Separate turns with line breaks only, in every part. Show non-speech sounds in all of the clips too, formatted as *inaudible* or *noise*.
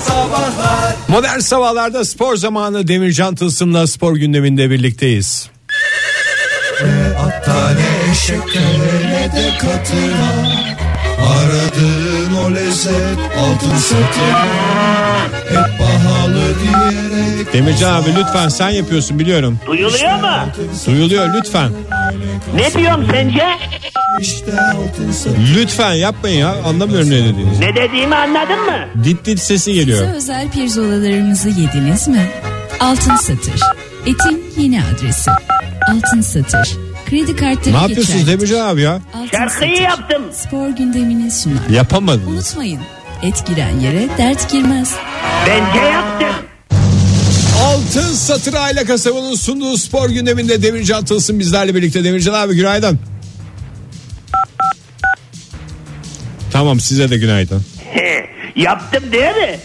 Sabahlar
Modern sabahlarda spor zamanı Demircan Tılsım'la spor gündeminde birlikteyiz.
Tane eşeklere de katıla Aradığın o lezzet altın satır Hep pahalı diyerek
Demircan abi lütfen sen yapıyorsun biliyorum.
Duyuluyor mu?
Duyuluyor lütfen.
Ne diyorum sence?
işte altın satır
Lütfen yapmayın ya anlamıyorum ne dediğinizi.
Ne dediğimi anladın mı?
Dit dit sesi
Size
geliyor.
özel pirzolalarımızı yediniz mi? Altın Satır. Etin yeni adresi. Altın Satır. Kredi kartları
Ne yapıyorsunuz
geçerlidir.
Demircan abi ya?
Altın
Şarkıyı
Satır.
yaptım.
Spor gündemini sunar.
Yapamadınız.
Unutmayın. Et giren yere dert girmez.
Bence yaptım.
Altın Satır Aile Kasabı'nın sunduğu spor gündeminde Demircan Tılsım bizlerle birlikte. Demircan abi günaydın. Tamam size de günaydın.
He, yaptım değil mi?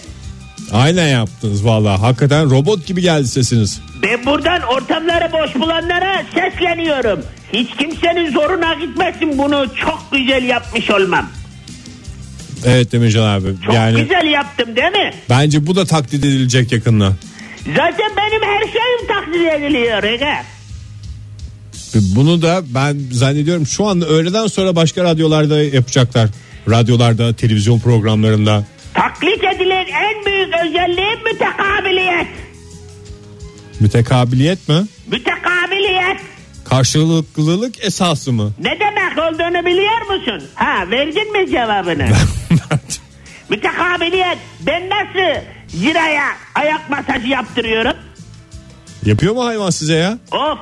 Aynen yaptınız vallahi. Hakikaten robot gibi geldi sesiniz.
Ben buradan ortamları boş bulanlara sesleniyorum. Hiç kimsenin zoruna gitmesin bunu çok güzel yapmış olmam.
Evet Demircan abi.
Çok
yani
güzel yaptım değil mi?
bence bu da taklit edilecek yakında.
Zaten benim her şeyim takdir ediliyor. Ege.
Bunu da ben zannediyorum şu an öğleden sonra başka radyolarda yapacaklar. Radyolarda, televizyon programlarında.
Taklit edilen en büyük özelliğim mütekabiliyet.
Mütekabiliyet mi?
Mütekabiliyet.
Karşılıklılık esası mı?
Ne demek olduğunu biliyor musun? Ha verdin mi cevabını? Mütekabiliyet. Ben nasıl ziraya ayak masajı yaptırıyorum?
Yapıyor mu hayvan size ya?
Of.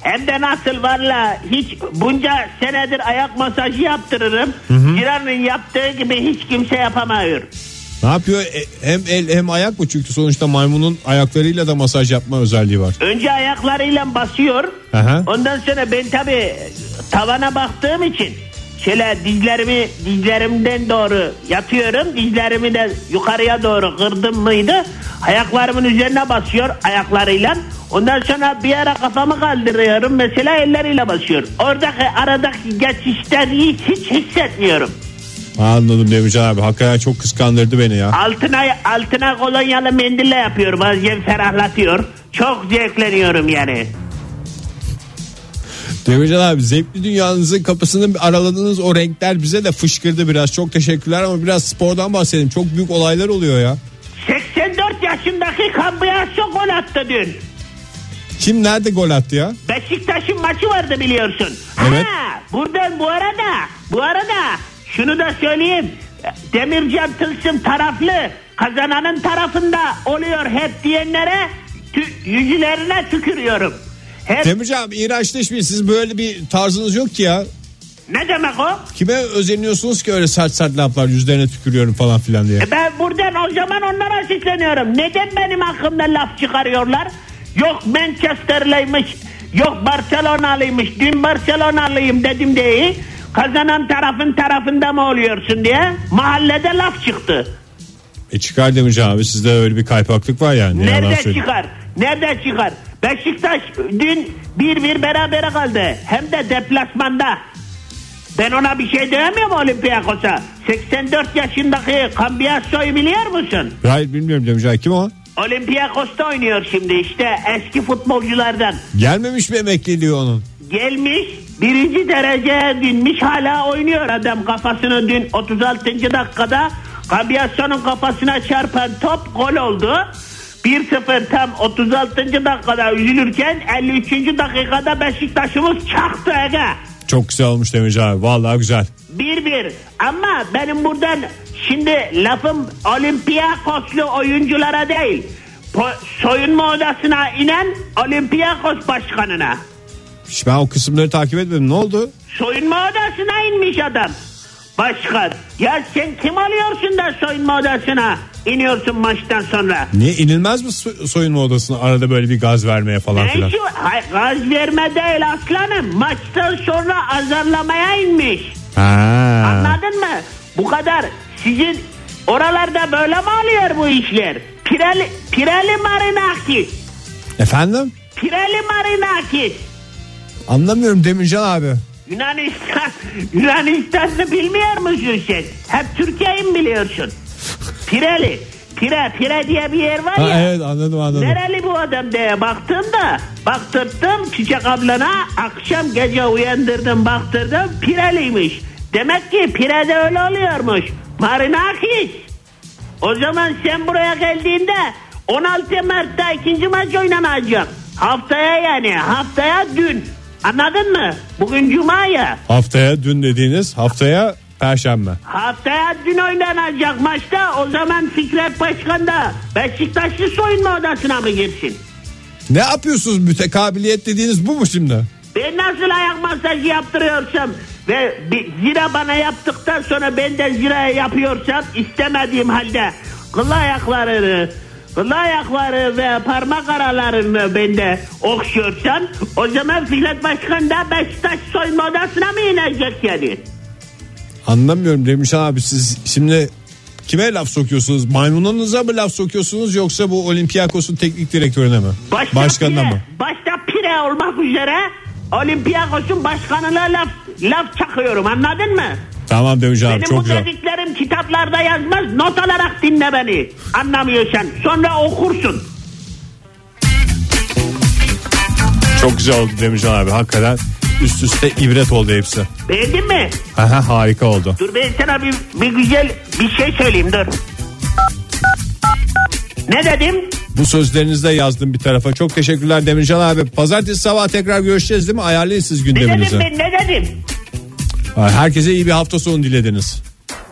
Hem de nasıl valla hiç bunca senedir ayak masajı yaptırırım. Zira'nın yaptığı gibi hiç kimse yapamıyor.
Ne yapıyor? E- Hem el hem ayak mı? Çünkü sonuçta maymunun ayaklarıyla da masaj yapma özelliği var.
Önce ayaklarıyla basıyor.
Aha.
Ondan sonra ben tabi tavana baktığım için şöyle dizlerimi dizlerimden doğru yatıyorum. Dizlerimi de yukarıya doğru kırdım mıydı? Ayaklarımın üzerine basıyor ayaklarıyla. Ondan sonra bir ara kafamı kaldırıyorum. Mesela elleriyle basıyor. Oradaki aradaki geçişleri hiç, hiç hissetmiyorum.
Anladım Demircan abi. Hakikaten çok kıskandırdı beni ya.
Altına altına kolonyalı mendille yapıyorum. Azim ferahlatıyor. Çok zevkleniyorum yani.
Demircan abi zevkli dünyanızın kapısını araladığınız o renkler bize de fışkırdı biraz. Çok teşekkürler ama biraz spordan bahsedelim. Çok büyük olaylar oluyor ya.
84 yaşındaki Kambiyasu gol attı dün.
Kim nerede gol attı ya?
Beşiktaş'ın maçı vardı biliyorsun.
Evet.
Ha, buradan bu arada bu arada şunu da söyleyeyim. Demircan Tılsım taraflı kazananın tarafında oluyor hep diyenlere tü- yüzlerine tükürüyorum. Hep,
Demircan abi iğrençleşmeyin. Siz böyle bir tarzınız yok ki ya.
ne demek o?
Kime özeniyorsunuz ki öyle sert sert laflar yüzlerine tükürüyorum falan filan diye.
E Ben buradan o zaman onlara sesleniyorum. Neden benim hakkımda laf çıkarıyorlar? Yok Manchester'lıymış, yok Barcelona'lıymış. Dün Barcelona'lıyım dedim diye. Kazanan tarafın tarafında mı oluyorsun diye mahallede laf çıktı.
E çıkar Demircan abi sizde öyle bir kaypaklık var yani. Yalan
Nerede
söyleyeyim.
çıkar? Nerede çıkar? Beşiktaş dün bir bir berabere kaldı. Hem de deplasmanda. Ben ona bir şey diyemiyorum Olympiakos'a. 84 yaşındaki Cambiasso'yu biliyor musun?
Hayır bilmiyorum Demircan abi. kim o?
Olympiakos'ta oynuyor şimdi işte eski futbolculardan.
Gelmemiş mi emekliliği onun?
Gelmiş birinci dereceye dinmiş hala oynuyor adam kafasını dün 36. dakikada Kabiyaso'nun kafasına çarpan top gol oldu. 1-0 tam 36. dakikada üzülürken 53. dakikada Beşiktaş'ımız çaktı Ege.
Çok güzel olmuş Demircan abi. Vallahi güzel.
Bir bir. Ama benim buradan şimdi lafım Olympiakoslu oyunculara değil. Po- soyunma odasına inen Olympiakos başkanına.
Hiç ben o kısımları takip etmedim. Ne oldu?
Soyunma odasına inmiş adam. Başkan. Ya sen kim alıyorsun da soyunma odasına iniyorsun maçtan sonra?
Niye inilmez mi so- soyunma odasına arada böyle bir gaz vermeye falan
Ne
filan?
işi var? Hayır, gaz verme değil aslanım. Maçtan sonra azarlamaya inmiş.
Ha.
Anladın mı? Bu kadar. Sizin oralarda böyle mi oluyor bu işler? Pireli, Pireli Marinakis.
Efendim?
Pireli Marinakis.
Anlamıyorum Demircan abi.
Yunanistan, *laughs* Yunanistan'ı bilmiyor musun sen? Hep Türkiye'yi mi biliyorsun? Pireli. Pire pire diye bir yer var ya.
Ha, evet anladım anladım.
Nereli bu adam diye baktığımda baktırdım Çiçek ablana akşam gece uyandırdım baktırdım pireliymiş. Demek ki pirede öyle oluyormuş. Marinakis. O zaman sen buraya geldiğinde 16 Mart'ta ikinci maç oynanacak. Haftaya yani haftaya dün. Anladın mı? Bugün cuma ya.
Haftaya dün dediğiniz haftaya perşembe.
Haftaya dün oynanacak maçta o zaman Fikret Başkan da Beşiktaşlı soyunma odasına mı girsin?
Ne yapıyorsunuz mütekabiliyet dediğiniz bu mu şimdi?
Ben nasıl ayak masajı yaptırıyorsam ve bir zira bana yaptıktan sonra ben de ziraya yapıyorsam istemediğim halde kıl ayaklarını kıl ayakları ve parmak aralarını ben de okşuyorsam o zaman Fikret Başkan da Beşiktaş soyunma odasına mı inecek yani?
Anlamıyorum demiş abi siz şimdi kime laf sokuyorsunuz? Maymununuza mı laf sokuyorsunuz yoksa bu Olympiakos'un teknik direktörüne mi?
Başta
Başkanına
pire,
mı?
Başta pire olmak üzere Olympiakos'un başkanına laf, laf çakıyorum anladın mı?
Tamam demiş abi
Benim
çok
bu
güzel.
dediklerim kitaplarda yazmaz. Not alarak dinle beni. Anlamıyorsan. Sonra okursun.
Çok güzel oldu Demircan abi hakikaten üst üste ibret oldu hepsi.
Beğendin mi?
Aha, harika oldu.
Dur ben sana bir, bir güzel bir şey söyleyeyim dur. Ne dedim?
Bu sözlerinizde yazdım bir tarafa. Çok teşekkürler Demircan abi. Pazartesi sabah tekrar görüşeceğiz değil mi? Ayarlayın siz
Ne dedim
gündeminizi.
ben ne dedim?
Herkese iyi bir hafta sonu dilediniz.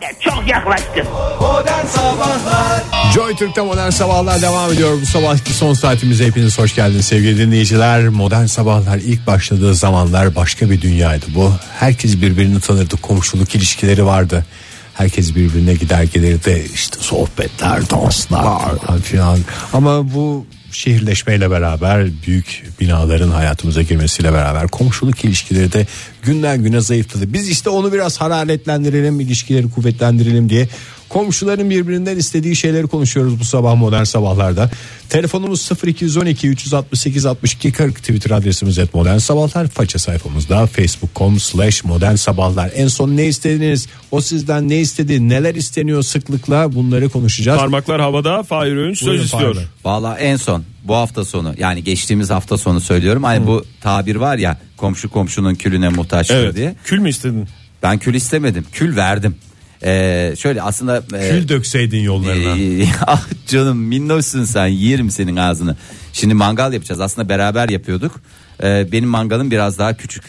Ya Çok yaklaştın.
Modern Sabahlar
Joy Türk'te modern sabahlar devam ediyor. Bu sabahki son saatimize hepiniz hoş geldiniz sevgili dinleyiciler. Modern sabahlar ilk başladığı zamanlar başka bir dünyaydı bu. Herkes birbirini tanırdı. Komşuluk ilişkileri vardı. Herkes birbirine gider gelirdi. İşte sohbetler, danslar falan filan. Ama bu şehirleşmeyle beraber büyük binaların hayatımıza girmesiyle beraber komşuluk ilişkileri de günden güne zayıfladı. Biz işte onu biraz hararetlendirelim, ilişkileri kuvvetlendirelim diye komşuların birbirinden istediği şeyleri konuşuyoruz bu sabah modern sabahlarda. Telefonumuz 0212 368 62 40 Twitter adresimiz et modern sabahlar. Faça sayfamızda facebook.com slash modern sabahlar. En son ne istediniz? O sizden ne istedi? Neler isteniyor sıklıkla? Bunları konuşacağız.
Parmaklar havada Fahir Öğünç söz
Buyurun
istiyor.
Fahir Bey.
Valla en son bu hafta sonu yani geçtiğimiz hafta sonu söylüyorum. Hani bu tabir var ya komşu komşunun külüne muhtaçtır
Evet.
diye.
Kül mü istedin?
Ben kül istemedim. Kül verdim. Ee, şöyle aslında e,
Kül dökseydin yollarına.
Ee, *laughs* ah canım minnoşsun sen yerim senin ağzını. Şimdi mangal yapacağız aslında beraber yapıyorduk. Ee, benim mangalım biraz daha küçük.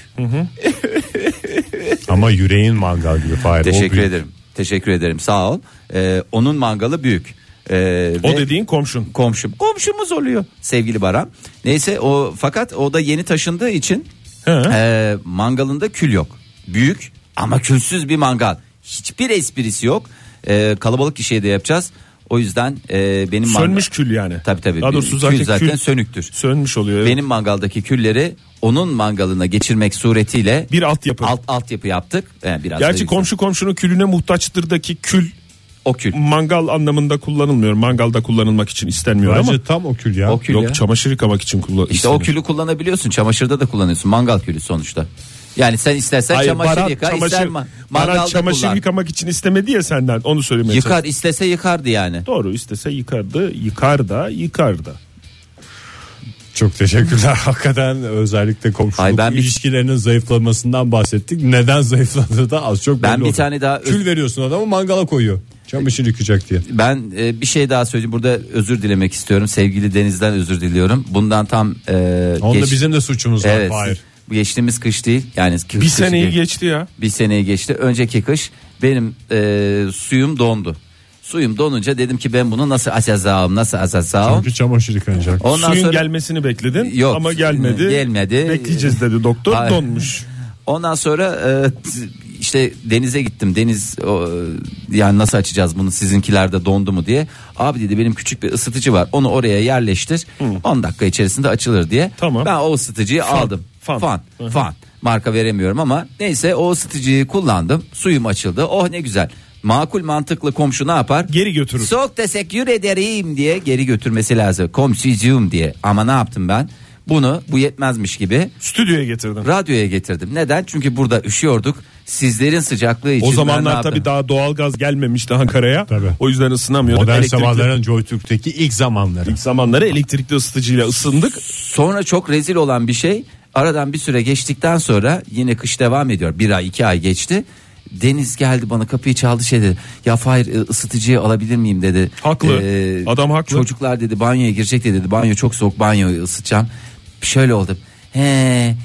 Ama yüreğin mangal gibi Fahir. O
Teşekkür
büyük.
ederim. Teşekkür ederim sağ ol. Ee, onun mangalı büyük. Ee,
O
ve-
dediğin komşun.
komşum. Komşumuz oluyor sevgili Baran. Neyse o fakat o da yeni taşındığı için e, mangalında kül yok. Büyük ama külsüz bir mangal. Hiçbir esprisi yok. E, kalabalık işe de yapacağız. O yüzden e, benim mangal-
Sönmüş kül yani.
Tabii tabii.
Daha doğrusu zaten
kül zaten
kül-
sönüktür.
Sönmüş oluyor. evet.
Benim mangaldaki külleri onun mangalına geçirmek suretiyle
Bir altyapı.
alt altyapı yaptık. E, biraz da-
Gerçi komşu komşunun külüne muhtaçtırdaki kül
o kül.
mangal anlamında kullanılmıyor. Mangalda kullanılmak için istenmiyor
Bence
ama.
tam o kül ya.
O kül
Yok
ya.
çamaşır yıkamak için kullan.
İşte o külü kullanabiliyorsun. Çamaşırda da kullanıyorsun. Mangal külü sonuçta. Yani sen istersen
Hayır,
çamaşır
Baran
yıka,
çamaşır,
ister ma-
Baran
mangalda
çamaşır
kullan.
yıkamak için istemedi ya senden. Onu söylemeye çalışıyorum.
Yıkar istese yıkardı yani.
Doğru istese yıkardı. Yıkar da yıkar da.
Çok teşekkürler. *laughs* Hakikaten özellikle komşuluk
Ay ben bir-
ilişkilerinin zayıflamasından bahsettik. Neden zayıfladığı da az çok
Ben
belli
bir
oldu.
tane daha-
Kül veriyorsun adamı mangala koyuyor. Çamaşır yıkacak diye.
Ben e, bir şey daha söyleyeyim. Burada özür dilemek istiyorum. Sevgili Deniz'den özür diliyorum. Bundan tam e,
Onda
geç-
bizim de suçumuz var.
evet,
Hayır.
Bu geçtiğimiz kış değil. Yani kış-
Bir
kış
seneyi
değil.
geçti ya.
Bir seneyi geçti. Önceki kış benim e, suyum dondu. Suyum donunca dedim ki ben bunu nasıl açacağım? Nasıl açacağım?
Çünkü çamaşır yıkanacak.
Ondan
Suyun
sonra
gelmesini bekledin
Yok,
ama gelmedi.
gelmedi.
Bekleyeceğiz dedi doktor
Hayır.
donmuş.
*laughs* Ondan sonra e, t- işte denize gittim. Deniz o, e, yani nasıl açacağız bunu sizinkilerde dondu mu diye. Abi dedi benim küçük bir ısıtıcı var. Onu oraya yerleştir. 10 dakika içerisinde açılır diye.
Tamam.
Ben o ısıtıcıyı aldım.
fan.
Fan. Fan. Marka veremiyorum ama neyse o ısıtıcıyı kullandım. Suyum açıldı. Oh ne güzel. Makul mantıklı komşu ne yapar?
Geri götürür.
Soğuk teşekkür ederim diye geri götürmesi lazım. Komşucuğum diye. Ama ne yaptım ben? Bunu bu yetmezmiş gibi
Stüdyoya getirdim.
Radyoya getirdim. Neden? Çünkü burada üşüyorduk. sizlerin sıcaklığı için.
O
ben ne
zamanlar
yaptım?
tabii daha doğalgaz gelmemişti Ankara'ya.
Tabii.
O yüzden ısınamıyorduk.
Modern
Elektrikli-
sabahların JoyTürk'teki ilk zamanları.
İlk zamanları elektrikli ısıtıcıyla ısındık.
Sonra çok rezil olan bir şey aradan bir süre geçtikten sonra yine kış devam ediyor. Bir ay iki ay geçti. Deniz geldi bana kapıyı çaldı şey dedi. Ya Fahir e, ısıtıcıyı alabilir miyim dedi. Ee,
Haklı. Adam haklı.
Çocuklar dedi banyoya girecek dedi. Banyo çok soğuk banyoyu ısıtacağım. Şöyle oldu. He,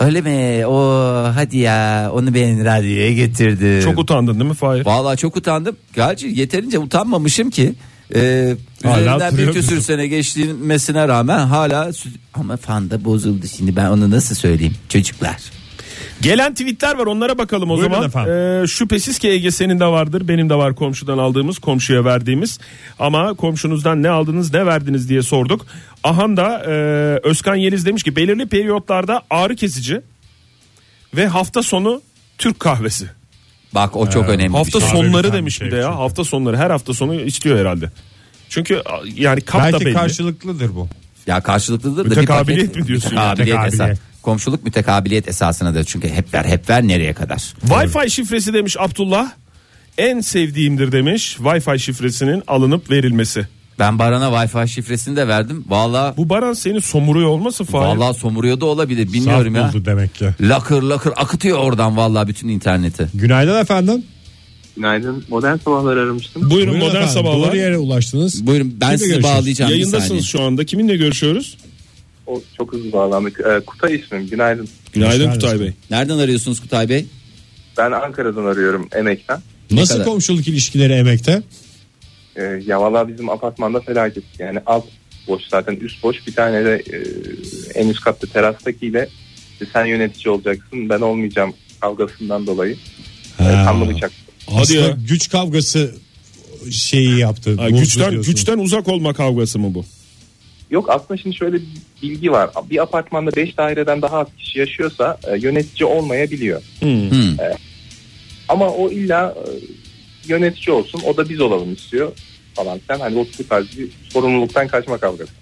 öyle mi? O hadi ya onu ben radyoya getirdim.
Çok utandın değil mi Fahir?
Vallahi çok utandım. Gerçi yeterince utanmamışım ki. Ee,
Hala
üzerinden bir
hatırlıyor
küsür
musun?
sene geçmesine rağmen hala sü- ama fanda bozuldu şimdi ben onu nasıl söyleyeyim çocuklar.
Gelen tweetler var onlara bakalım o
Buyurun
zaman.
efendim.
Ee, şüphesiz ki Ege senin de vardır benim de var komşudan aldığımız komşuya verdiğimiz. Ama komşunuzdan ne aldınız ne verdiniz diye sorduk. Ahan da e, Özkan Yeliz demiş ki belirli periyotlarda ağrı kesici ve hafta sonu Türk kahvesi.
Bak o çok önemli. bir
Hafta
şey.
Ee, Kahve
sonları
biten
demiş
bir
bir de
şey
ya
çünkü.
hafta sonları her hafta sonu istiyor herhalde. Çünkü a, yani kap da
Belki
belli.
karşılıklıdır bu.
Ya karşılıklıdır da bir
Mütekabiliyet
paket-
mi diyorsun ya?
Mütekabiliyet
Mütekabiliyet.
esas. Komşuluk mütekabiliyet esasınadır çünkü hep ver hep ver nereye kadar.
Wi-Fi şifresi demiş Abdullah. En sevdiğimdir demiş Wi-Fi şifresinin alınıp verilmesi.
Ben Baran'a Wi-Fi şifresini de verdim. Vallahi
Bu baran seni somuruyor olması Fahir.
vallahi somuruyor da olabilir
Saf
bilmiyorum ya.
buldu demek ki.
Lakır lakır akıtıyor oradan vallahi bütün interneti.
Günaydın efendim.
Günaydın. Modern sabahlar aramıştım.
Buyurun, modern
efendim.
sabahlar.
Doğru yere ulaştınız.
Buyurun ben
Kimle
sizi
görüşüyoruz?
bağlayacağım bir saniye.
Yayındasınız şu anda. Kiminle görüşüyoruz?
O çok hızlı bağlandık. Ee, Kutay ismim. Günaydın.
Günaydın
geldiniz.
Kutay Bey.
Nereden arıyorsunuz Kutay Bey?
Ben Ankara'dan arıyorum emekten.
Nasıl
kadar?
komşuluk ilişkileri emekte?
Ee, ya valla bizim apartmanda felaket. Yani alt boş zaten üst boş. Bir tane de e, en üst katta terastakiyle e, sen yönetici olacaksın ben olmayacağım kavgasından dolayı. Ee,
Ha.
kanlı bıçak.
Aslında
ya.
güç kavgası şeyi yaptı.
Ay,
bozdu
güçten
diyorsunuz.
güçten uzak olma kavgası mı bu?
Yok aslında şimdi şöyle bir bilgi var. Bir apartmanda 5 daireden daha az kişi yaşıyorsa e, yönetici olmayabiliyor.
Hmm.
Ee, Ama o illa e, yönetici olsun o da biz olalım istiyor falan. Sen hani o tarz bir sorumluluktan kaçma kavgası.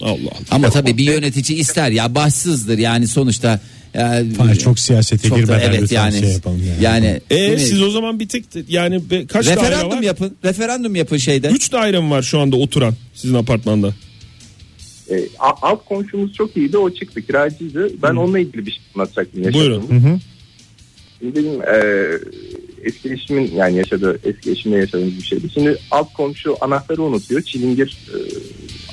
Allah Allah.
Ama tabii bir yönetici ister ya başsızdır yani sonuçta. Ya,
Hayır, çok siyasete
Çok da-
girmeden
evet
lütfen
yani.
şey yapalım yani.
Yani değil
E
mi?
siz o zaman bir tek yani be- kaç daire
referandum
var?
yapın. Referandum yapın şeyde.
3 daire mi var şu anda oturan sizin apartmanda?
E, a- alt komşumuz çok iyiydi o çıktı kiracıydı. Ben onunla ilgili bir şey anlatacaktım. yaşadığım.
Buyurun.
Şimdi benim e, eski eşimin yani yaşadığı eski eşimle yaşadığımız bir şeydi. Şimdi alt komşu anahtarı unutuyor çilingir e,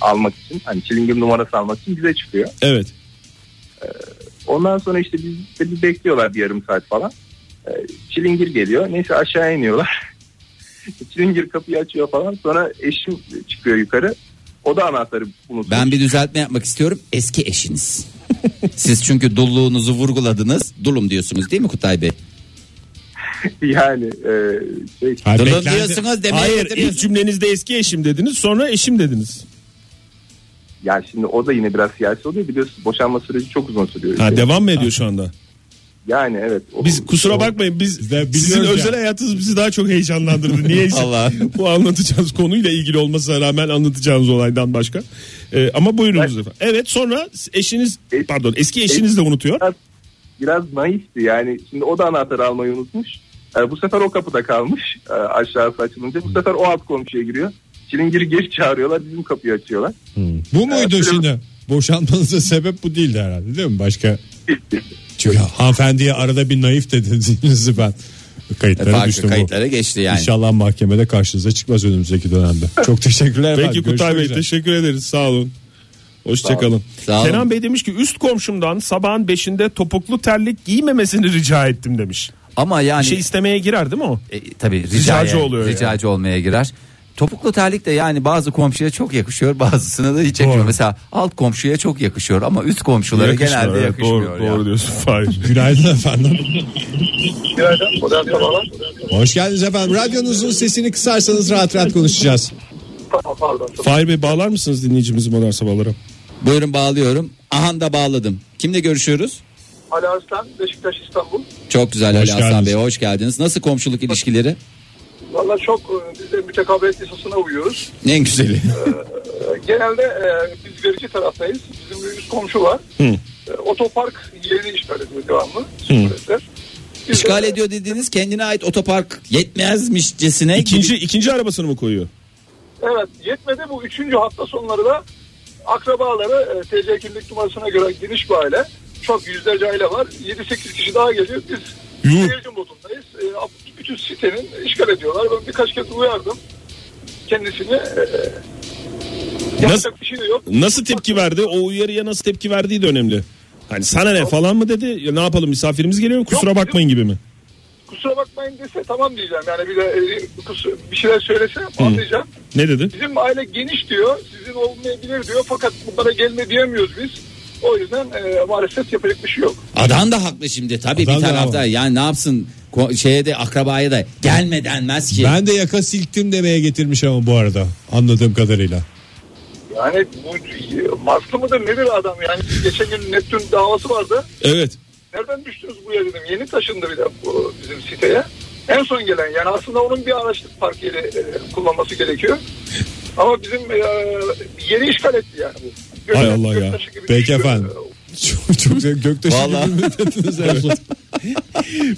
almak için hani çilingir numarası almak için bize çıkıyor.
Evet.
Ee, Ondan sonra işte biz işte bir bekliyorlar bir yarım saat falan. Ee, çilingir geliyor. Neyse aşağı iniyorlar. *laughs* çilingir kapıyı açıyor falan. Sonra eşim çıkıyor yukarı. O da anahtarı *laughs* unutmuş.
Ben bir düzeltme yapmak istiyorum. Eski *laughs* eşiniz. siz çünkü dulluğunuzu vurguladınız. Dulum diyorsunuz değil mi Kutay Bey?
yani e, şey,
Hayır,
Dulum
beklendi-
diyorsunuz demeye
Hayır ilk
getiriyorsunuz.
cümlenizde eski eşim dediniz sonra eşim dediniz.
yani şimdi o da yine biraz siyasi oluyor. Biliyorsunuz boşanma süreci çok uzun sürüyor.
Ha
İşte.
devam mı ediyor şu anda?
yani evet. O,
Biz kusura
o-
bakmayın biz
Biz de biliyoruz
sizin
ya.
özel hayatınız bizi daha çok
*laughs*
heyecanlandırdı. Niye
Allah.
bu anlatacağınız konuyla ilgili olmasına rağmen anlatacağınız olaydan başka. Ee, ama buyurunuz efendim. Evet sonra eşiniz
E-
pardon eski eşiniz de unutuyor.
biraz, biraz naifti yani. Şimdi o da anahtarı almayı unutmuş. Ee, bu sefer o kapıda kalmış e, aşağısı açılınca. Bu sefer o alt komşuya giriyor. Çilingiri geri çağırıyorlar bizim kapıyı açıyorlar.
Bu muydu
Evet,
şimdi? Boşanmanıza sebep bu değildi herhalde değil mi? Başka çünkü hanımefendiye arada bir naif dediğinizi ben kayıtlara
Farklı
düştüm
kayıtlara geçti
bu.
yani.
İnşallah mahkemede karşınıza çıkmaz önümüzdeki dönemde. Çok teşekkürler
Peki
efendim.
Kutay
Görüşmek
Bey
üzere.
teşekkür ederiz sağ olun. Hoşçakalın.
Sağ olun.
Kenan Bey demiş ki üst komşumdan sabahın 5'inde topuklu terlik giymemesini rica ettim demiş.
Ama yani
Bir şey istemeye girer değil mi o?
E, tabii
Ricacı
ricacı,
oluyor yani.
ricacı olmaya girer. Topuklu terlik de yani bazı komşuya çok yakışıyor bazısına da hiç yakışmıyor. Mesela alt komşuya çok yakışıyor ama üst komşulara
Yakışmıyor,
genelde
evet,
yakışmıyor.
Doğru,
ya.
doğru diyorsun Fahir.
Günaydın efendim.
*laughs*
Günaydın. Modern sabahlar.
Hoş geldiniz efendim. Radyonuzun sesini kısarsanız rahat rahat konuşacağız.
Tamam pardon.
Fahir Bey bağlar mısınız dinleyicimizi modern sabahlara?
Buyurun bağlıyorum. Aha da bağladım. Kimle görüşüyoruz?
Ali Arslan, Beşiktaş İstanbul.
Çok güzel
Hoş
Ali Aslan
geldiniz.
Bey hoş geldiniz. Nasıl komşuluk ilişkileri?
Valla çok e, biz de mütekabiliyet yasasına uyuyoruz.
En güzeli.
E, Genelde e, biz verici taraftayız. Bizim bir üst komşu var. E, Otopark yerini işgal ediyor devamlı. Sürekli.
İşgal ediyor dediğiniz kendine ait otopark yetmezmişcesine
İkinci, ikinci arabasını mı koyuyor?
Evet yetmedi bu üçüncü hafta sonları da akrabaları e, TC kimlik numarasına göre geniş bir aile. Çok yüzlerce aile var. 7-8 kişi daha geliyor. Biz
Yuh.
seyirci modundayız. E, bütün sitenin işgal ediyorlar. Ben birkaç kez uyardım kendisini. E,
Nasıl-
yapacak bir şey de yok.
Nasıl tepki verdi? O uyarıya nasıl tepki verdiği de önemli. Hani sana ne falan mı dedi? Ya Ne yapalım misafirimiz geliyor kusura
Yok,
bakmayın gibi mi?
Kusura bakmayın dese tamam diyeceğim. Yani bir de e, kus- bir şeyler söylese anlayacağım.
Ne dedi?
Bizim aile geniş diyor. Sizin olmayabilir diyor. Fakat bunlara gelme diyemiyoruz biz. O yüzden e, maalesef yapacak bir şey yok.
Adam da haklı şimdi tabii
Adam
bir
da
tarafta
haklı.
yani ne yapsın Ko- şeye de akrabaya da gelme denmez ki.
Ben de yaka silktim demeye getirmiş ama bu arada anladığım kadarıyla.
Yani bu maskı mıdır nedir adam yani geçen gün Neptün davası vardı.
Evet.
Nereden düştünüz buraya dedim. Yeni taşındı bir de bu bizim siteye. En son gelen yani aslında onun bir araçlık park yeri e, kullanması gerekiyor. Ama bizim e, yeri işgal etti yani bu. Gök-
Hay Allah ya.
göktaşı gibi
Peki
düştü.
efendim. Çok çok
*laughs*
göktaşı
Vallahi. *laughs*
gibi mi dediniz en son?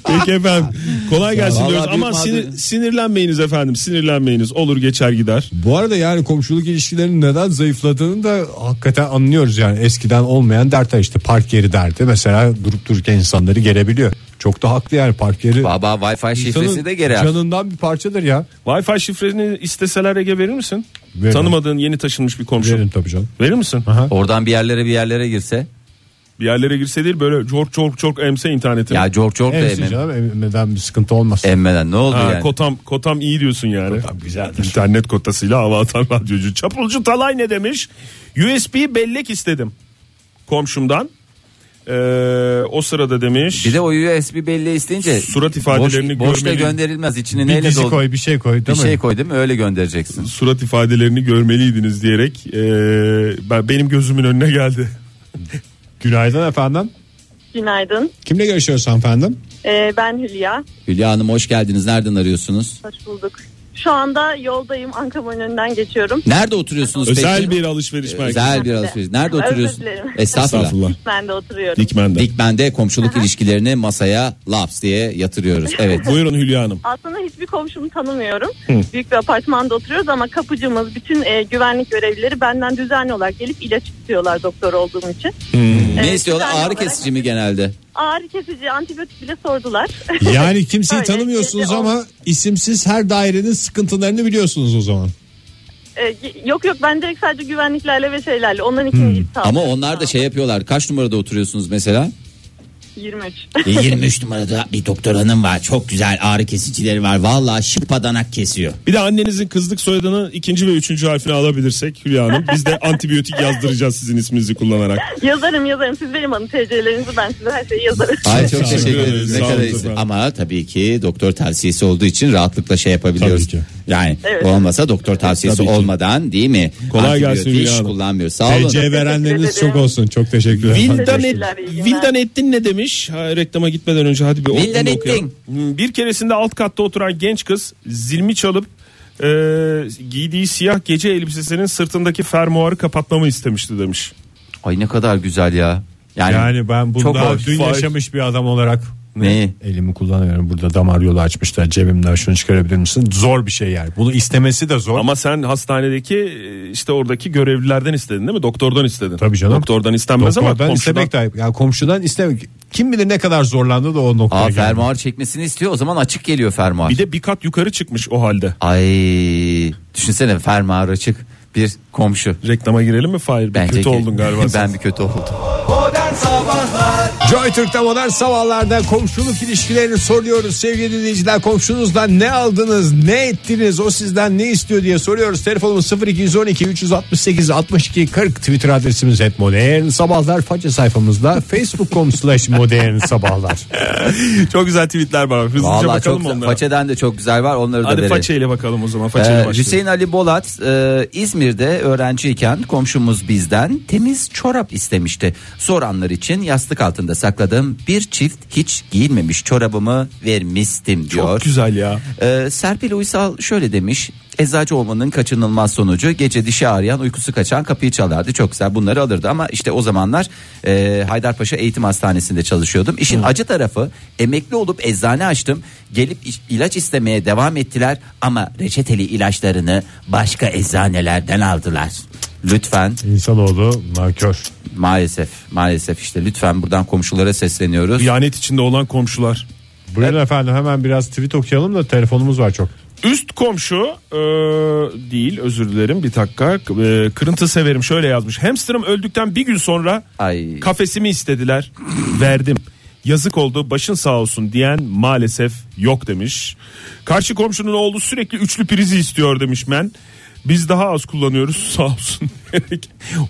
Peki efendim kolay gelsin
vallahi
diyoruz
büyük
ama sinir-
mağdur-
sinirlenmeyiniz efendim sinirlenmeyiniz olur geçer gider.
Bu arada yani komşuluk ilişkilerinin neden zayıfladığını da hakikaten anlıyoruz yani eskiden olmayan dertler işte park yeri derdi mesela durup dururken insanları gelebiliyor. Çok da haklı yani park yeri.
Baba Wi-Fi şifresi
insanın
de gerer.
Canından bir parçadır ya.
Wi-Fi şifreni isteseler Ege verir misin?
Veririm.
Tanımadığın yeni taşınmış bir komşu.
Verin tabii canım.
Verir misin?
Oradan bir yerlere bir yerlere girse.
Bir yerlere girse değil böyle çok çok çok emse internetini.
Ya cork cork da
Emsin
emme.
canım em- neden bir sıkıntı olmaz.
Emmeden ne oldu
Ha,
yani?
Kotam kotam iyi diyorsun yani.
güzeldir.
İnternet kotasıyla hava atan radyocu. Çapulcu Talay ne demiş? USB bellek istedim komşumdan. Ee, o sırada demiş.
Bir de o USB belli isteyince
Surat ifadelerini
boş, boş da
görmeli.
gönderilmez. İçini
Bir
neyle
dizi
doldur?
koy bir şey koy
bir
değil mi?
şey koy değil mi? Öyle göndereceksin.
Surat ifadelerini görmeliydiniz diyerek ee, ben benim gözümün önüne geldi.
Günaydın efendim.
Günaydın.
Kimle görüşüyoruz efendim?
Ee, ben Hülya.
Hülya Hanım hoş geldiniz. Nereden arıyorsunuz?
Hoş bulduk. Şu anda yoldayım. Ankara'nın önünden geçiyorum.
Nerede oturuyorsunuz
Özel
peki? Ee,
bir alışveriş merkezi.
Özel bir alışveriş. Nerede
Özür
oturuyorsun?
dilerim.
Estağfurullah.
Estağfurullah.
Ben de oturuyorum.
*laughs*
Dikmen'de.
Dikmen'de komşuluk ilişkilerini masaya laps diye yatırıyoruz. Evet.
Buyurun Hülya Hanım.
Aslında hiçbir komşumu tanımıyorum. Büyük bir apartmanda oturuyoruz ama kapıcımız, bütün e, güvenlik görevlileri benden düzenli olarak gelip ilaç istiyorlar doktor olduğum için.
ne
Hmm.
Evet,
istiyorlar?
düzenli
Ağrı
olarak
kesici mi genelde?
Ağrı kesici, antibiyotik bile sordular.
Yani kimseyi
Öyle,
tanımıyorsunuz
kimse
ama isimsiz her dairenin sıkıntılarını biliyorsunuz o zaman.
Ee, y- yok yok ben direkt sadece güvenliklerle ve şeylerle. Onların ikinci
Ama onlar da şey yapıyorlar. Kaç numarada oturuyorsunuz
*laughs*
mesela?
23.
E, 23 numarada bir doktor hanım var. Çok güzel ağrı kesicileri var. Vallahi şıpadanak kesiyor.
Bir de annenizin kızlık soyadını ikinci ve üçüncü harfini alabilirsek Hülya Hanım. Biz de antibiyotik yazdıracağız sizin isminizi kullanarak.
yazarım yazarım. Siz benim hanım TC'lerinizi ben size her şeyi yazarım.
Ay çok *laughs*
Çok sağ
teşekkür
olun.
ederiz. Ne
Sağ olun
kadar
efendim.
iyisi. Ama tabii ki doktor tavsiyesi olduğu için rahatlıkla şey yapabiliyoruz.
Tabii ki.
Yani
Evet.
olmasa doktor tavsiyesi
Tabii ki.
olmadan değil mi?
Kolay gelsin
Antibiyotik
Hülya Hanım.
kullanmıyoruz. Sağ olun.
TC verenleriniz
Teşekkür
çok
ederim.
olsun. Çok teşekkürler. efendim.
Vildan, et,
Teşekkürler, iyi günler.
Vildan Ettin ne demiş? Ha, reklama gitmeden önce hadi bir onu-
Vildan
onu
Ettin.
okuyalım. Hmm, Bir keresinde alt katta oturan genç kız zilmi çalıp e, giydiği siyah gece elbisesinin sırtındaki fermuarı kapatmamı istemişti demiş.
Ay ne kadar güzel ya. Yani,
Yani ben bunu
Çok
daha
hoş.
dün
Vay.
yaşamış bir adam olarak
Neyi?
elimi kullanıyorum. Burada damar yolu açmışlar cebimden şunu çıkarabilir misin? Zor bir şey yani. Bunu istemesi de zor.
Ama sen hastanedeki e, işte oradaki görevlilerden istedin değil mi? Doktordan istedin.
Tabii canım.
Doktordan istenmez ama
Doktordan
komşudan.
istemek de ayıp. Yani komşudan istemek. Kim bilir ne kadar zorlandı da o noktaya
Aa,
geldi.
fermuar çekmesini istiyor o zaman açık geliyor fermuar.
Bir de bir kat yukarı çıkmış o halde.
Ay düşünsene fermuar açık bir komşu.
Reklama girelim mi Fahir? Bir
Bence
kötü
ki-
oldun galiba. sen.
*laughs* ben bir kötü oldum.
Modern Sabahlar
Joy Türk'te modern sabahlarda komşuluk ilişkilerini soruyoruz. Sevgili dinleyiciler komşunuzdan ne aldınız, ne ettiniz, o sizden ne istiyor diye soruyoruz. Telefonumuz 0212 368 62 40 Twitter adresimiz et modern sabahlar. Faça sayfamızda facebook.com slash modern sabahlar.
*laughs*
*laughs*
çok güzel tweetler var. Hızlıca
Vallahi çok
bakalım
güzel.
onlara.
Façeden de çok güzel var onları da
Hadi
verelim.
façeyle bakalım o zaman. Façeyle
Ee,
başlayalım.
Hüseyin Ali Bolat e, İzmir'de öğrenciyken komşumuz bizden temiz çorap istemişti. Soranlara olanlar için yastık altında sakladığım bir çift hiç giyilmemiş çorabımı vermiştim diyor.
Çok güzel ya.
Ee, Serpil Uysal şöyle demiş. Eczacı olmanın kaçınılmaz sonucu gece dişi ağrıyan uykusu kaçan kapıyı çalardı çok güzel bunları alırdı ama işte o zamanlar e, Haydarpaşa Eğitim Hastanesi'nde çalışıyordum. İşin acı tarafı emekli olup eczane açtım gelip iç- ilaç istemeye devam ettiler ama reçeteli ilaçlarını başka eczanelerden aldılar. Lütfen
İnsanoğlu nankör.
maalesef maalesef işte lütfen buradan komşulara sesleniyoruz.
Kıyamet içinde olan komşular.
Buyurun efendim hemen biraz tweet okuyalım da telefonumuz var çok.
Üst komşu e, değil özür dilerim bir dakika e, kırıntı severim şöyle yazmış. Hamsterım öldükten bir gün sonra
Ay.
kafesimi istediler verdim. Yazık oldu başın sağ olsun diyen maalesef yok demiş. Karşı komşunun oğlu sürekli üçlü prizi istiyor demiş men. Biz daha az kullanıyoruz *laughs* sağ olsun.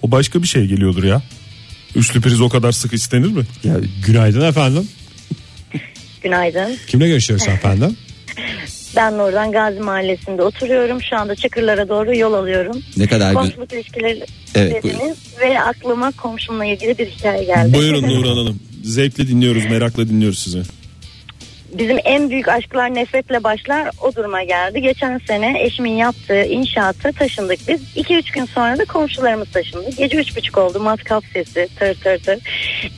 o başka bir şey geliyordur ya. Üçlü priz o kadar sık istenir mi?
Günaydın efendim.
Günaydın.
Kimle görüşüyoruz efendim?
Ben oradan Gazi Mahallesi'nde oturuyorum. Şu anda Çakırlara doğru yol alıyorum.
Ne kadar güzel.
Komşuluk ilişkileri
Evet,
dediniz ve aklıma komşumla ilgili bir hikaye geldi.
Nurhan Hanım. Zevkle dinliyoruz, merakla dinliyoruz sizi.
*laughs* Bizim en büyük aşklar nefretle başlar o duruma geldi. Geçen sene eşimin yaptığı inşaata taşındık biz. 2-3 gün sonra da komşularımız taşındı. Gece 3.30 oldu matkap sesi tır tır tır.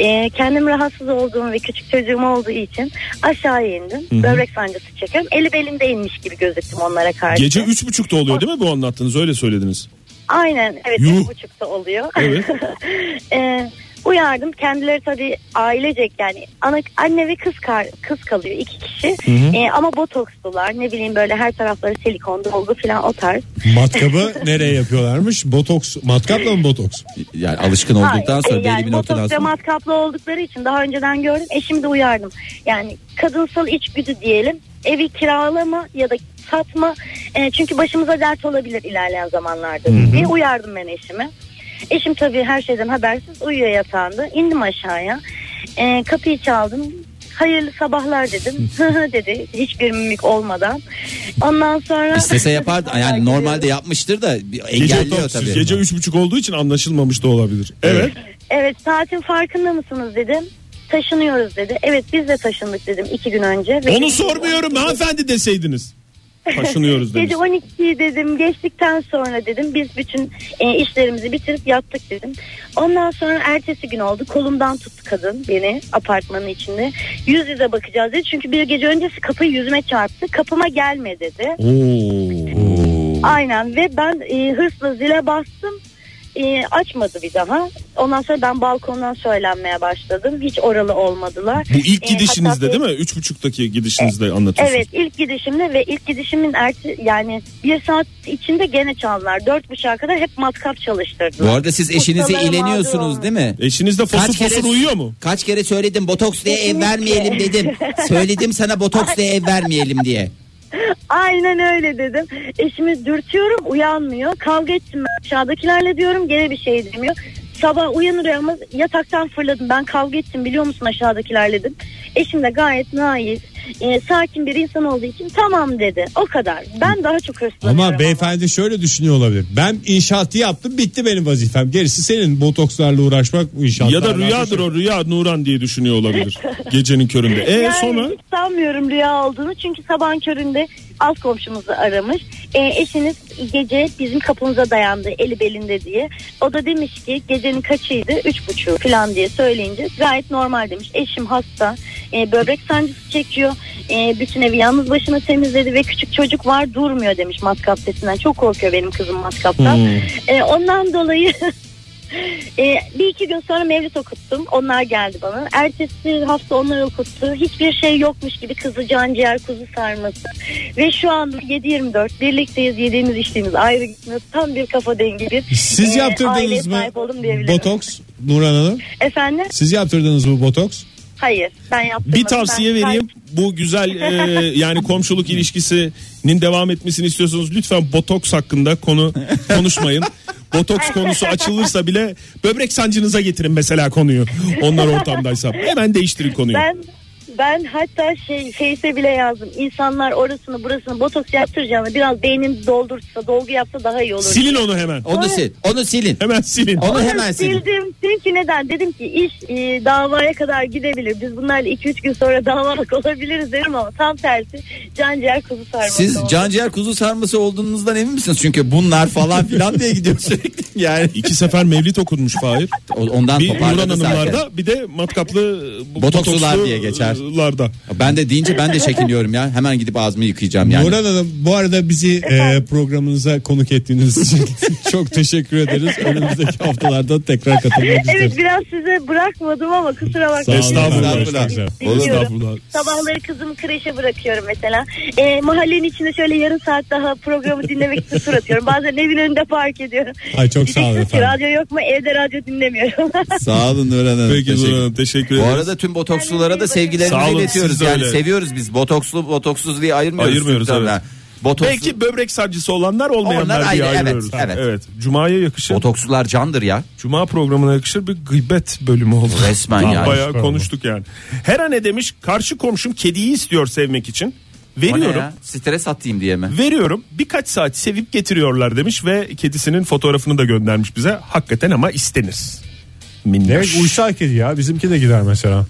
Ee, kendim rahatsız olduğum ve küçük çocuğum olduğu için aşağı indim. Böbrek sancısı çekiyorum. Eli belimde inmiş gibi gözüktüm onlara karşı.
Gece üç buçukta oluyor değil mi bu anlattığınız? Öyle söylediniz.
Aynen evet
Yuh.
üç buçukta oluyor.
Evet.
*laughs* Ee, uyardım kendileri tabii ailecek yani ana, anne ve kız kar, kız kalıyor iki kişi Ee, ama botokslular ne bileyim böyle her tarafları silikon dolgu falan o tarz.
Matkabı nereye yapıyorlarmış? Botoks. Matkapla mı botoks?
Yani alışkın olduktan
Hayır,
sonra
e,
belli
yani
bir noktadan
botoks ve
sonra
matkaplı oldukları için daha önceden gördüm eşimi de uyardım yani kadınsal içgüdü diyelim evi kiralama ya da satma E, çünkü başımıza dert olabilir ilerleyen zamanlarda diye uyardım ben eşimi. Eşim tabii her şeyden habersiz uyuyor yatağında. İndim aşağıya. Ee, kapıyı çaldım. Hayırlı sabahlar
*laughs*
dedim. *laughs* Hı hı dedi. Hiçbir mimik olmadan. Ondan sonra...
İstese yapardı. Yani normalde yapmıştır da bir engelliyor E, tabii.
Gece üç buçuk olduğu için anlaşılmamış da olabilir. Evet.
Evet saatin farkında mısınız dedim. Taşınıyoruz dedi. Evet biz de taşındık dedim iki gün önce. Ve-
Onu sormuyorum hanımefendi deseydiniz. Taşınıyoruz demiş.
Gece 12'yi dedim geçtikten sonra dedim biz bütün e, işlerimizi bitirip yattık dedim. Ondan sonra ertesi gün oldu kolumdan tuttu kadın beni apartmanın içinde. Yüz yüze bakacağız dedi çünkü bir gece öncesi kapıyı yüzüme çarptı kapıma gelme dedi. Aynen ve ben e, hırsla zile bastım. E, açmadı bir daha. Ondan sonra ben balkondan söylenmeye başladım. Hiç oralı olmadılar.
Bu ilk
E,
gidişinizde
hatta-
değil mi? Üç buçuktaki gidişinizde anlatıyorsunuz.
Evet ilk gidişimde ve ilk gidişimin erti yani bir saat içinde gene çaldılar. Dört buçuğa kadar hep matkap çalıştırdılar.
Bu arada siz eşinize
Ustalara
ileniyorsunuz
mağdur
değil mi?
Eşiniz de fosur
Kaç kere-
fosur uyuyor mu?
Kaç kere söyledim botoks diye ev
Kesinlikle.
vermeyelim dedim. Söyledim sana botoks diye ev vermeyelim diye.
Aynen öyle dedim. Eşimi dürtüyorum uyanmıyor. Kavga ettim ben aşağıdakilerle diyorum gene bir şey demiyor. Sabah uyanır uyanmaz yataktan fırladım. Ben kavga ettim biliyor musun aşağıdakilerle dedim. Eşim de gayet naiz, e, sakin bir insan olduğu için tamam dedi. O kadar. Ben daha çok hırslanıyorum.
Ama beyefendi şöyle düşünüyor olabilir. Ben inşaatı yaptım bitti benim vazifem. Gerisi senin botokslarla uğraşmak bu inşaatla.
Ya da
alakalı
rüyadır
şey.
o rüya Nuran diye
*laughs*
düşünüyor olabilir. Gecenin köründe. E
yani
sonra?
hiç sanmıyorum rüya olduğunu çünkü sabahın köründe alt komşumuzu aramış. E, eşiniz gece bizim kapımıza dayandı eli belinde diye. O da demiş ki gecenin kaçıydı üç buçuğu falan diye söyleyince gayet normal demiş. Eşim hasta e, böbrek sancısı çekiyor. E, bütün evi yalnız başına temizledi ve küçük çocuk var durmuyor demiş matkap sesinden. Çok korkuyor benim kızım matkaptan.
Hmm.
E, ondan dolayı *laughs* Ee, bir iki gün sonra mevlüt okuttum. Onlar geldi bana. Ertesi hafta onlar okuttu. Hiçbir şey yokmuş gibi kızı canciğer kuzu sarması. Ve şu anda 7-24 birlikteyiz. Yediğimiz içtiğimiz ayrı gitmiyoruz. Tam bir kafa dengi bir
Siz
e, aileye
yaptırdınız mı
sahip oldum diyebilirim.
botoks Nurhan Hanım?
Efendim?
Siz yaptırdınız mı botoks?
Hayır ben yaptım.
Bir tavsiye vereyim. Bu güzel e, yani komşuluk ilişkisinin devam etmesini istiyorsanız lütfen botoks hakkında konu konuşmayın. Botoks konusu açılırsa bile böbrek sancınıza getirin mesela konuyu. Onlar ortamdaysa hemen değiştirin konuyu.
Ben ben hatta şey Face'e bile yazdım. İnsanlar orasını burasını botoks yaptıracağını biraz beynini doldursa, dolgu yapsa daha iyi olur.
Silin onu hemen.
Onu sil. Onu silin.
Hemen silin.
Onu hemen silin.
Sildim. Dedim ki neden? Dedim ki iş e, davaya kadar gidebilir. Biz bunlarla 2-3 gün sonra *laughs* davalık olabiliriz dedim ama tam tersi can ciğer kuzu sarması
Siz
oldu.
canciğer kuzu sarması olduğunuzdan emin misiniz? Çünkü bunlar falan filan diye gidiyor *laughs* sürekli. Yani
İki sefer mevlit okunmuş Fahir.
o- ondan
Bir
toparladı
Nurhan Hanımlarda
zaten.
bir de matkaplı e, bu-
Botokslular diye geçer.
botokslularda.
Ben de deyince ben de çekiniyorum ya. Hemen gidip ağzımı yıkayacağım yani.
Nurhan Hanım bu arada bizi e, programınıza konuk ettiğiniz için *laughs* çok teşekkür ederiz. Önümüzdeki haftalarda tekrar katılmak
*laughs* Evet
isteriz.
biraz size bırakmadım ama kusura bakmayın.
Estağfurullah.
Estağfurullah.
Estağfurullah. Estağfurullah.
Sabahları kızımı kreşe bırakıyorum mesela. Ee, mahallenin içinde şöyle yarım saat daha programı dinlemek için tur atıyorum. Bazen evin önünde park ediyorum.
Ay, çok sağ olun
Diyeceksiniz ki,
efendim.
Radyo yok mu? Evde radyo dinlemiyorum.
Sağ olun Nurhan Hanım.
Peki
Teşekkür-
Nurhan Hanım teşekkür
Bu
ederim.
arada tüm botokslulara da
Sağ
sevgilerimizi
olun,
iletiyoruz.
siz de
Yani
öyle.
seviyoruz biz. Botokslu botoksuz diye ayırmıyoruz.
Ayırmıyoruz,
Tabii
evet.
yani. Botokslu,
Belki böbrek sancısı olanlar olmayanlar
Onlar
diye
ayrı, evet,
ayırıyoruz.
evet.
Cuma'ya yakışır.
botokslular candır ya.
Cuma programına yakışır bir gıybet bölümü oldu.
Resmen
Tam
yani.
Bayağı konuştuk yani. Her an ne demiş? Karşı komşum kediyi istiyor sevmek için.
O ne
Veriyorum.
ya? Stres atayım diye mi?
Veriyorum birkaç saat sevip getiriyorlar demiş ve kedisinin fotoğrafını da göndermiş bize. Hakikaten ama istenir.
Evet
Minnoş.
uysal kedi ya bizimki de gider mesela.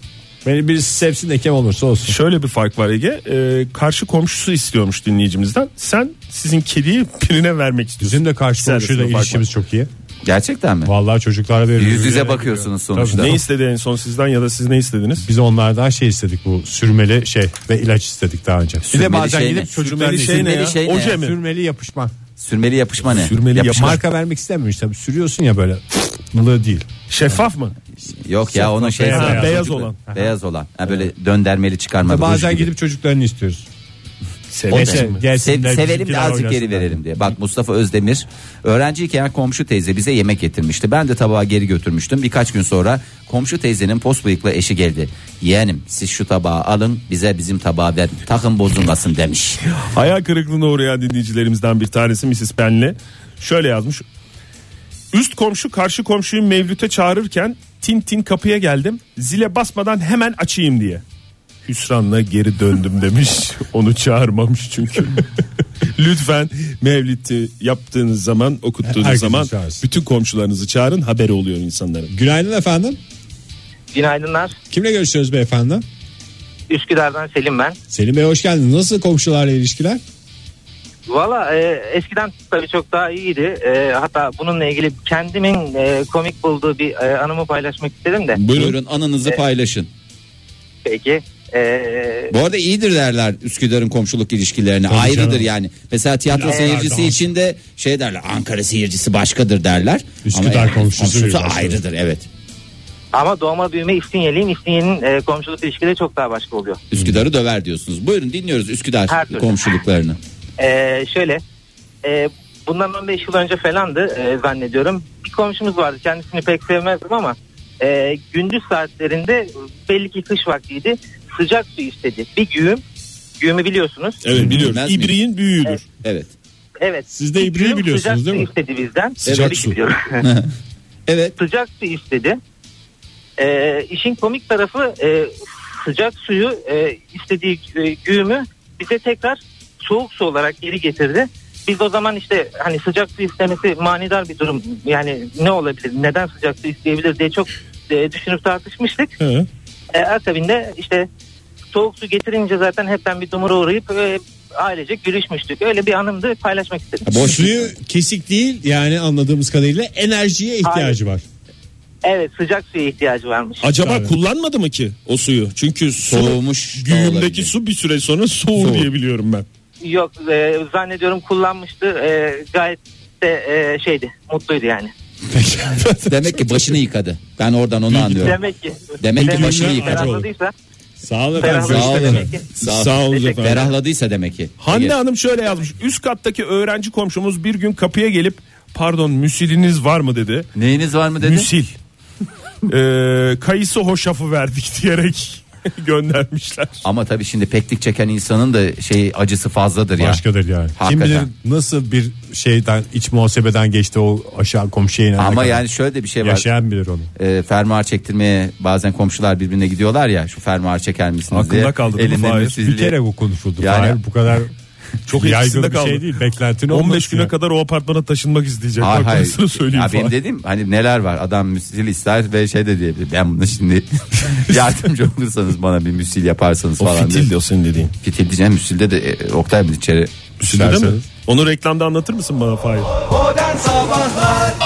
Beni birisi sevsin de kim olursa olsun.
Şöyle bir fark var Ege. Ee, karşı komşusu istiyormuş dinleyicimizden. Sen sizin kediyi birine vermek istiyorsun.
Bizim de karşı
Sen de
komşuyla
sınıf fark
ilişkimiz çok iyi.
Gerçekten mi?
Vallahi çocuklara veriyoruz.
Yüz yüze bakıyorsunuz sonuçta.
Ne istedi en son sizden ya da siz ne istediniz?
Biz onlardan şey istedik bu sürmeli şey ve ilaç istedik daha önce. Bir
Sürmeli
de bazen
şey ne?
gidip çocukların
Sürmeli şey ne
sürmeli,
ya?
şey ne
Oje
ya?
mi?
sürmeli yapışma.
Sürmeli yapışma ne?
Sürmeli
Yapışma-
Marka vermek istemiyoruz tabii sürüyorsun ya böyle mılı değil.
Şeffaf mı?
Yok ya onun şey
Beyaz-
zaten.
beyaz
Çocuk-
olan.
Beyaz olan. Ha, böyle döndermeli çıkarmalı. ruj
bazen
gibi.
gidip çocuklarını istiyoruz.
Sevesin mi?
Sev- sevelim de azıcık geri
verelim.
verelim diye. Bak Mustafa Özdemir öğrenciyken komşu teyze bize yemek getirmişti. Ben de tabağı geri götürmüştüm. Birkaç gün sonra komşu teyzenin pos bıyıklı eşi geldi. Yeğenim siz şu tabağı alın bize bizim tabağı verin. Takım bozulmasın demiş.
Hayal kırıklığına uğrayan dinleyicilerimizden bir tanesi Mrs. Benli. Şöyle yazmış. Üst komşu karşı komşuyu mevlüte çağırırken tin tin kapıya geldim. Zile basmadan hemen açayım diye. Hüsranla geri döndüm
*laughs*
demiş. Onu çağırmamış çünkü. Lütfen mevlidi yaptığınız zaman okuttuğunuz
Herkesi
zaman
çağırsın.
bütün komşularınızı çağırın haberi oluyor insanların.
Günaydın efendim.
Günaydınlar.
Kimle görüşüyoruz beyefendi?
Üsküdar'dan Selim ben.
Selim Bey hoş geldiniz. Nasıl komşularla ilişkiler?
Valla e, eskiden tabii çok daha iyiydi. E, hatta bununla ilgili kendimin e, komik bulduğu bir e, anımı paylaşmak istedim de. E,
Buyurun, anınızı paylaşın.
Peki. E,
Bu arada iyidir derler Üsküdar'ın komşuluk ilişkilerine ayrıdır yani. Mesela tiyatro seyircisi için de şey derler Ankara seyircisi başkadır derler.
Üsküdar
Ama yani
komşusu bir başkadır.
ayrıdır evet.
ama doğma büyüme İstinye'liyim. İstinye'nin e, komşuluk ilişkileri çok daha başka oluyor.
Üsküdar'ı döver diyorsunuz. Buyurun dinliyoruz
Her
Üsküdar
türlü.
komşuluklarını.
Ee, şöyle e, bundan 15 yıl önce falandı e, zannediyorum. Bir komşumuz vardı kendisini pek sevmezdim ama e, gündüz saatlerinde belli ki kış vaktiydi sıcak su istedi. Bir güğüm güğümü biliyorsunuz.
Evet
Bilmez
biliyoruz.
miyim?
İbriğin büyüğüdür.
Evet.
Evet.
Siz de
bir
ibriği
güğüm
biliyorsunuz
sıcak
değil mi?
su istedi bizden.
Sıcak
Tabii ki
su.
biliyorum.
*laughs*
Evet.
sıcak su istedi. Ee, işin komik tarafı e, sıcak suyu e, istediği e, güğümü bize tekrar soğuk su olarak geri getirdi. Biz o zaman işte hani sıcak su istemesi manidar bir durum. Yani ne olabilir, neden sıcak su isteyebilir diye çok e, düşünüp tartışmıştık.
Hı.
E, akabinde işte soğuk su getirince zaten hepten bir dumura uğrayıp e, ailecek gülüşmüştük. Öyle bir anımdı paylaşmak istedim.
Boş
Suyu kesik değil yani anladığımız kadarıyla enerjiye ihtiyacı var.
Evet sıcak suya ihtiyacı varmış.
Acaba
Tabii.
kullanmadı mı ki o suyu? Çünkü su,
Soğumuş da olabilir.
Güğümdeki su bir süre sonra soğur
Soğur.
diye biliyorum ben.
Yok e, zannediyorum kullanmıştı. E, gayet de e, şeydi mutluydu yani.
Demek ki başını yıkadı. Ben oradan onu anlıyorum.
Demek ki.
Demek ki başını
ki
yıkadı.
ferahladıysa.
Sağ olun
efendim.
Sağ olun.
Demek ki.
Sağ,
Sağ olun
Teşekkür
efendim.
Ferahladıysa demek ki.
Hande Hanım şöyle yazmış. Üst kattaki öğrenci komşumuz bir gün kapıya gelip pardon müsiliniz var mı dedi.
*laughs* Neyiniz var mı dedi?
Müsil. Ee, kayısı hoşafı verdik diyerek göndermişler.
Ama tabii şimdi peklik çeken insanın da şey acısı fazladır ya.
Başkadır yani.
Hakikaten.
Kim bilir nasıl bir şeyden iç muhasebeden geçti o aşağı komşuya inene
Ama
kadar.
yani şöyle de bir şey var.
Yaşayan bilir onu.
e, fermuar çektirmeye bazen komşular birbirine gidiyorlar ya şu fermuar çeker misiniz diye.
Aklında kaldı değil mi
Elinde
Fahir?
müsizli.
Bir kere bu konuşuldu.
Yani- *laughs*
Fahir bu kadar
*laughs* Çok
çok yaygın
etkisinde
bir
kaldı.
şey değil. Beklentin
15
olmasın
güne
yani.
kadar o apartmana taşınmak isteyecek.
Hayır,
Bak
hayır.
Hayır, söyleyeyim.
Ya benim
falan.
dediğim hani neler var adam müsil ister ve şey de diyebilir ben bunu şimdi *laughs* yardımcı olursanız bana bir müsil yaparsanız
O
falan.
fitil
diye.
de o senin dediğin.
Fitil diyeceğim müsilde de e, Oktay bir içeri.
Şimdi değil mi? Onu reklamda anlatır mısın bana Fahir?
Modern Sabahlar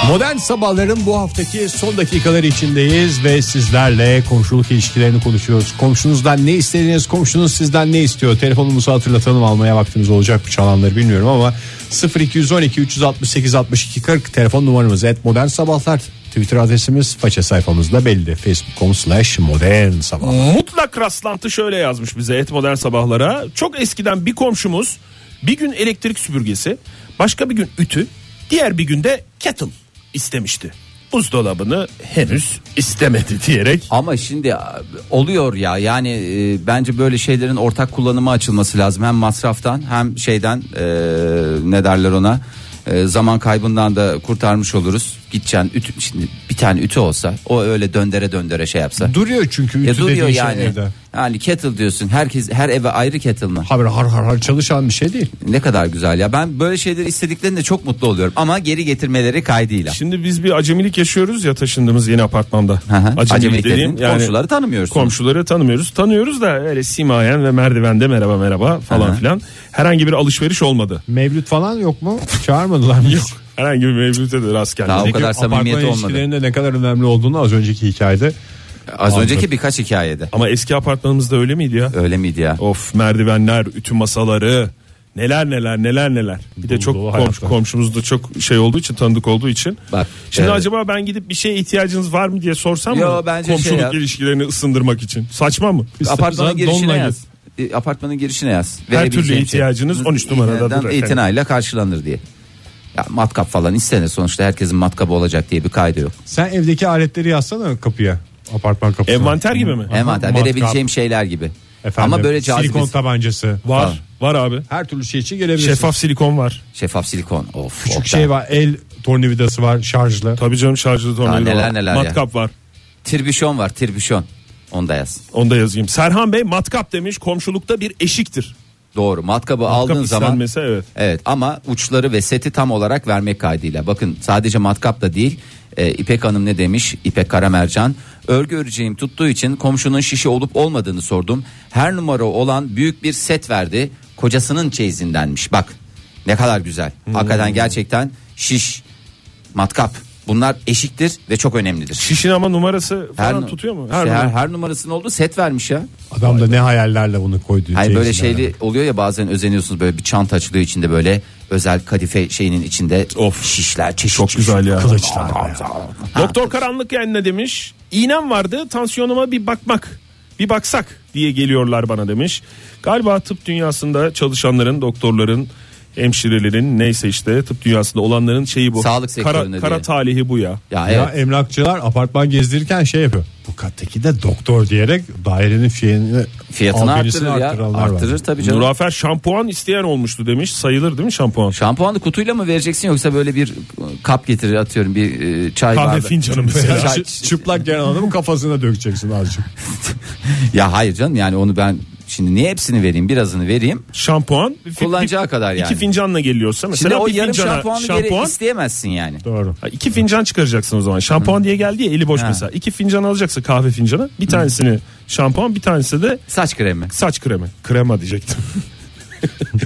Modern sabahların bu haftaki son dakikaları içindeyiz ve sizlerle komşuluk ilişkilerini konuşuyoruz. Komşunuzdan ne istediğiniz, komşunuz sizden ne istiyor? Telefonumuzu hatırlatalım almaya vaktimiz olacak mı çalanları bilmiyorum ama 0212 368 62 40 telefon numaramız et modern sabahlar. Twitter adresimiz faça sayfamızda belli. Facebook.com slash modern sabah.
Mutlak rastlantı şöyle yazmış bize et modern sabahlara. Çok eskiden bir komşumuz bir gün elektrik süpürgesi, başka bir gün ütü, diğer bir günde kettle istemişti. Buzdolabını henüz istemedi *laughs* diyerek.
Ama şimdi a, oluyor ya yani e, bence böyle şeylerin ortak kullanıma açılması lazım. Hem masraftan hem şeyden e, ne derler ona e, zaman kaybından da kurtarmış oluruz. Gideceksin ütü, şimdi bir tane ütü olsa o öyle döndere döndere şey yapsa.
Duruyor çünkü
Ya
ütü
duruyor
dediğin şey
yani.
evde.
Yani kettle diyorsun. Herkes her eve ayrı kettle mı?
Ha böyle har har har çalışan bir şey değil.
Ne kadar güzel ya. Ben böyle şeyleri istediklerinde çok mutlu oluyorum ama geri getirmeleri kaydıyla.
Şimdi biz bir acemilik yaşıyoruz ya taşındığımız yeni apartmanda.
Hı hı. Acemilik dediğin komşuları tanımıyorsunuz.
Komşuları tanımıyoruz. Tanıyoruz da öyle simayen ve merdivende merhaba merhaba falan
Hı hı.
filan. Herhangi bir alışveriş olmadı.
Mevlüt falan yok mu? Çağırmadılar mı? Yok.
Herhangi bir mevlüte de rast gelmedi.
Daha o
Peki,
kadar samimiyeti
apartman
olmadı.
ilişkilerinde ne kadar önemli olduğunu az önceki hikayede
Az önceki birkaç hikayede.
Ama eski apartmanımızda öyle miydi ya?
Öyle miydi ya?
Of merdivenler, ütü masaları, neler neler neler neler. Bir de
Dolu
çok
dolu
komşu,
hayatlar.
komşumuz da çok şey olduğu için tanıdık olduğu için.
Bak, e,
Şimdi
evet.
acaba ben gidip bir şeye ihtiyacınız var mı diye sorsam
Yo,
mı?
bence şey
Komşuluk
yap.
ilişkilerini ısındırmak için. Saçma mı?
apartmanın
zaten
girişine
donla
yaz. E, Apartmanın girişine yaz. şey.
Her türlü
Verebileceğim
ihtiyacınız 13 numarada
İğneden
durar.
İtinayla karşılanır diye. Ya matkap falan istenir sonuçta herkesin matkabı olacak diye bir kaydı yok.
Sen evdeki aletleri yazsana kapıya. Apartman kapısına.
Envanter gibi mi?
Hem hatta
matkap.
verebileceğim şeyler gibi.
Efendim,
Ama böyle cazibesi.
Silikon tabancası.
Var.
Tamam.
Var abi.
Her türlü şey için gelebilirsin.
Şeffaf silikon var.
Şeffaf silikon. Of.
Küçük
Oktay.
şey var. El tornavidası var şarjlı.
Tabii canım şarjlı tornavida
neler
var.
neler ya.
matkap var.
Tribüşon var tribüşon. Onu da yaz.
Onu da yazayım. Serhan Bey matkap demiş komşulukta bir eşiktir.
Doğru matkabı aldığın
Matkap
zaman.
istenmese evet.
Evet ama uçları ve seti tam olarak vermek kaydıyla. Bakın sadece matkap da değil. e, İpek Hanım ne demiş? İpek Karamercan. Örgü öreceğim tuttuğu için komşunun şişi olup olmadığını sordum. Her numara olan büyük bir set verdi. Kocasının çeyizindenmiş. Bak ne kadar güzel.
Hmm.
Hakikaten gerçekten şiş, matkap bunlar eşiktir ve çok önemlidir.
Şişin ama numarası
Her,
falan tutuyor mu?
Her, işte
numara.
her, her numarasının olduğu set vermiş ya.
Adam da ne hayallerle bunu koydu.
Hani böyle
çeyizlerle.
şeyli oluyor ya bazen özeniyorsunuz böyle bir çanta açılıyor içinde böyle özel kadife şeyinin içinde
Of.
şişler çeşit
Çok
çeşit.
güzel ya.
Kılıçlar.
Doktor Karanlık yani ne demiş? İğnem vardı tansiyonuma bir bakmak bir baksak diye geliyorlar bana demiş. Galiba tıp dünyasında çalışanların doktorların hemşirelerin neyse işte tıp dünyasında olanların şeyi bu.
Sağlık
kara,
sektöründe
kara
diye.
talihi bu ya.
Ya
Ya
evet.
emlakçılar apartman gezdirirken şey yapıyor. Bu kattaki de doktor diyerek dairenin fiyatını
Fiyatını
albenisini
arttırır ya.
arttıranlar var.
Arttırır tabii canım.
Nurafer şampuan isteyen olmuştu demiş. Sayılır değil mi şampuan?
Şampuanı kutuyla mı vereceksin yoksa böyle bir e, kap getirir atıyorum bir e, çay
Kahve
*laughs*
bardağı.
fincanı mesela.
Çay-
Çı- Çıplak gelen adamın kafasına dökeceksin azıcık.
ya hayır canım yani onu ben şimdi niye hepsini vereyim birazını vereyim.
Şampuan. fi-
Kullanacağı
bir-
kadar yani.
İki fincanla geliyorsa mesela
Şimdi o
bir
yarım
fincana
şampuanı geri
şampuan.
isteyemezsin yani.
Doğru.
Ha, İki fincan çıkaracaksın o zaman. Şampuan diye geldi ya eli boş
Ha.
mesela. İki fincan alacaksa kahve fincanı. Bir tanesini şampuan bir tanesi de
Saç kremi.
saç kremi. Krema diyecektim. *laughs*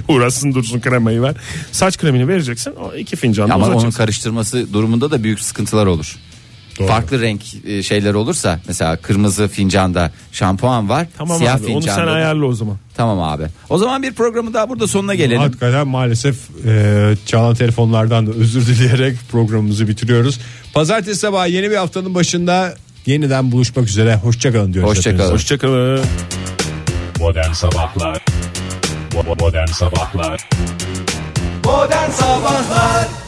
Uğraşsın dursun kremayı ver. Saç kremini vereceksin. O iki fincan da
Ama onun
uzatacaksın.
karıştırması durumunda da büyük sıkıntılar olur. Farklı renk e, şeyler olursa mesela kırmızı fincanda şampuan var,
Tamam
siyah
abi onu
fincanda.
sen
da-
ayarla o zaman.
Tamam abi. O zaman bir programı daha burada sonuna gelelim.
Hakikaten maalesef e, çalan telefonlardan da özür *laughs* dileyerek programımızı bitiriyoruz. Pazartesi sabahı yeni bir haftanın başında yeniden buluşmak üzere. Hoşçakalın diyoruz.
Hoşça
hepinize.
kalın.
Hoşçakalın.
Modern Sabahlar Bo- bo- Modern Sabahlar
Modern Sabahlar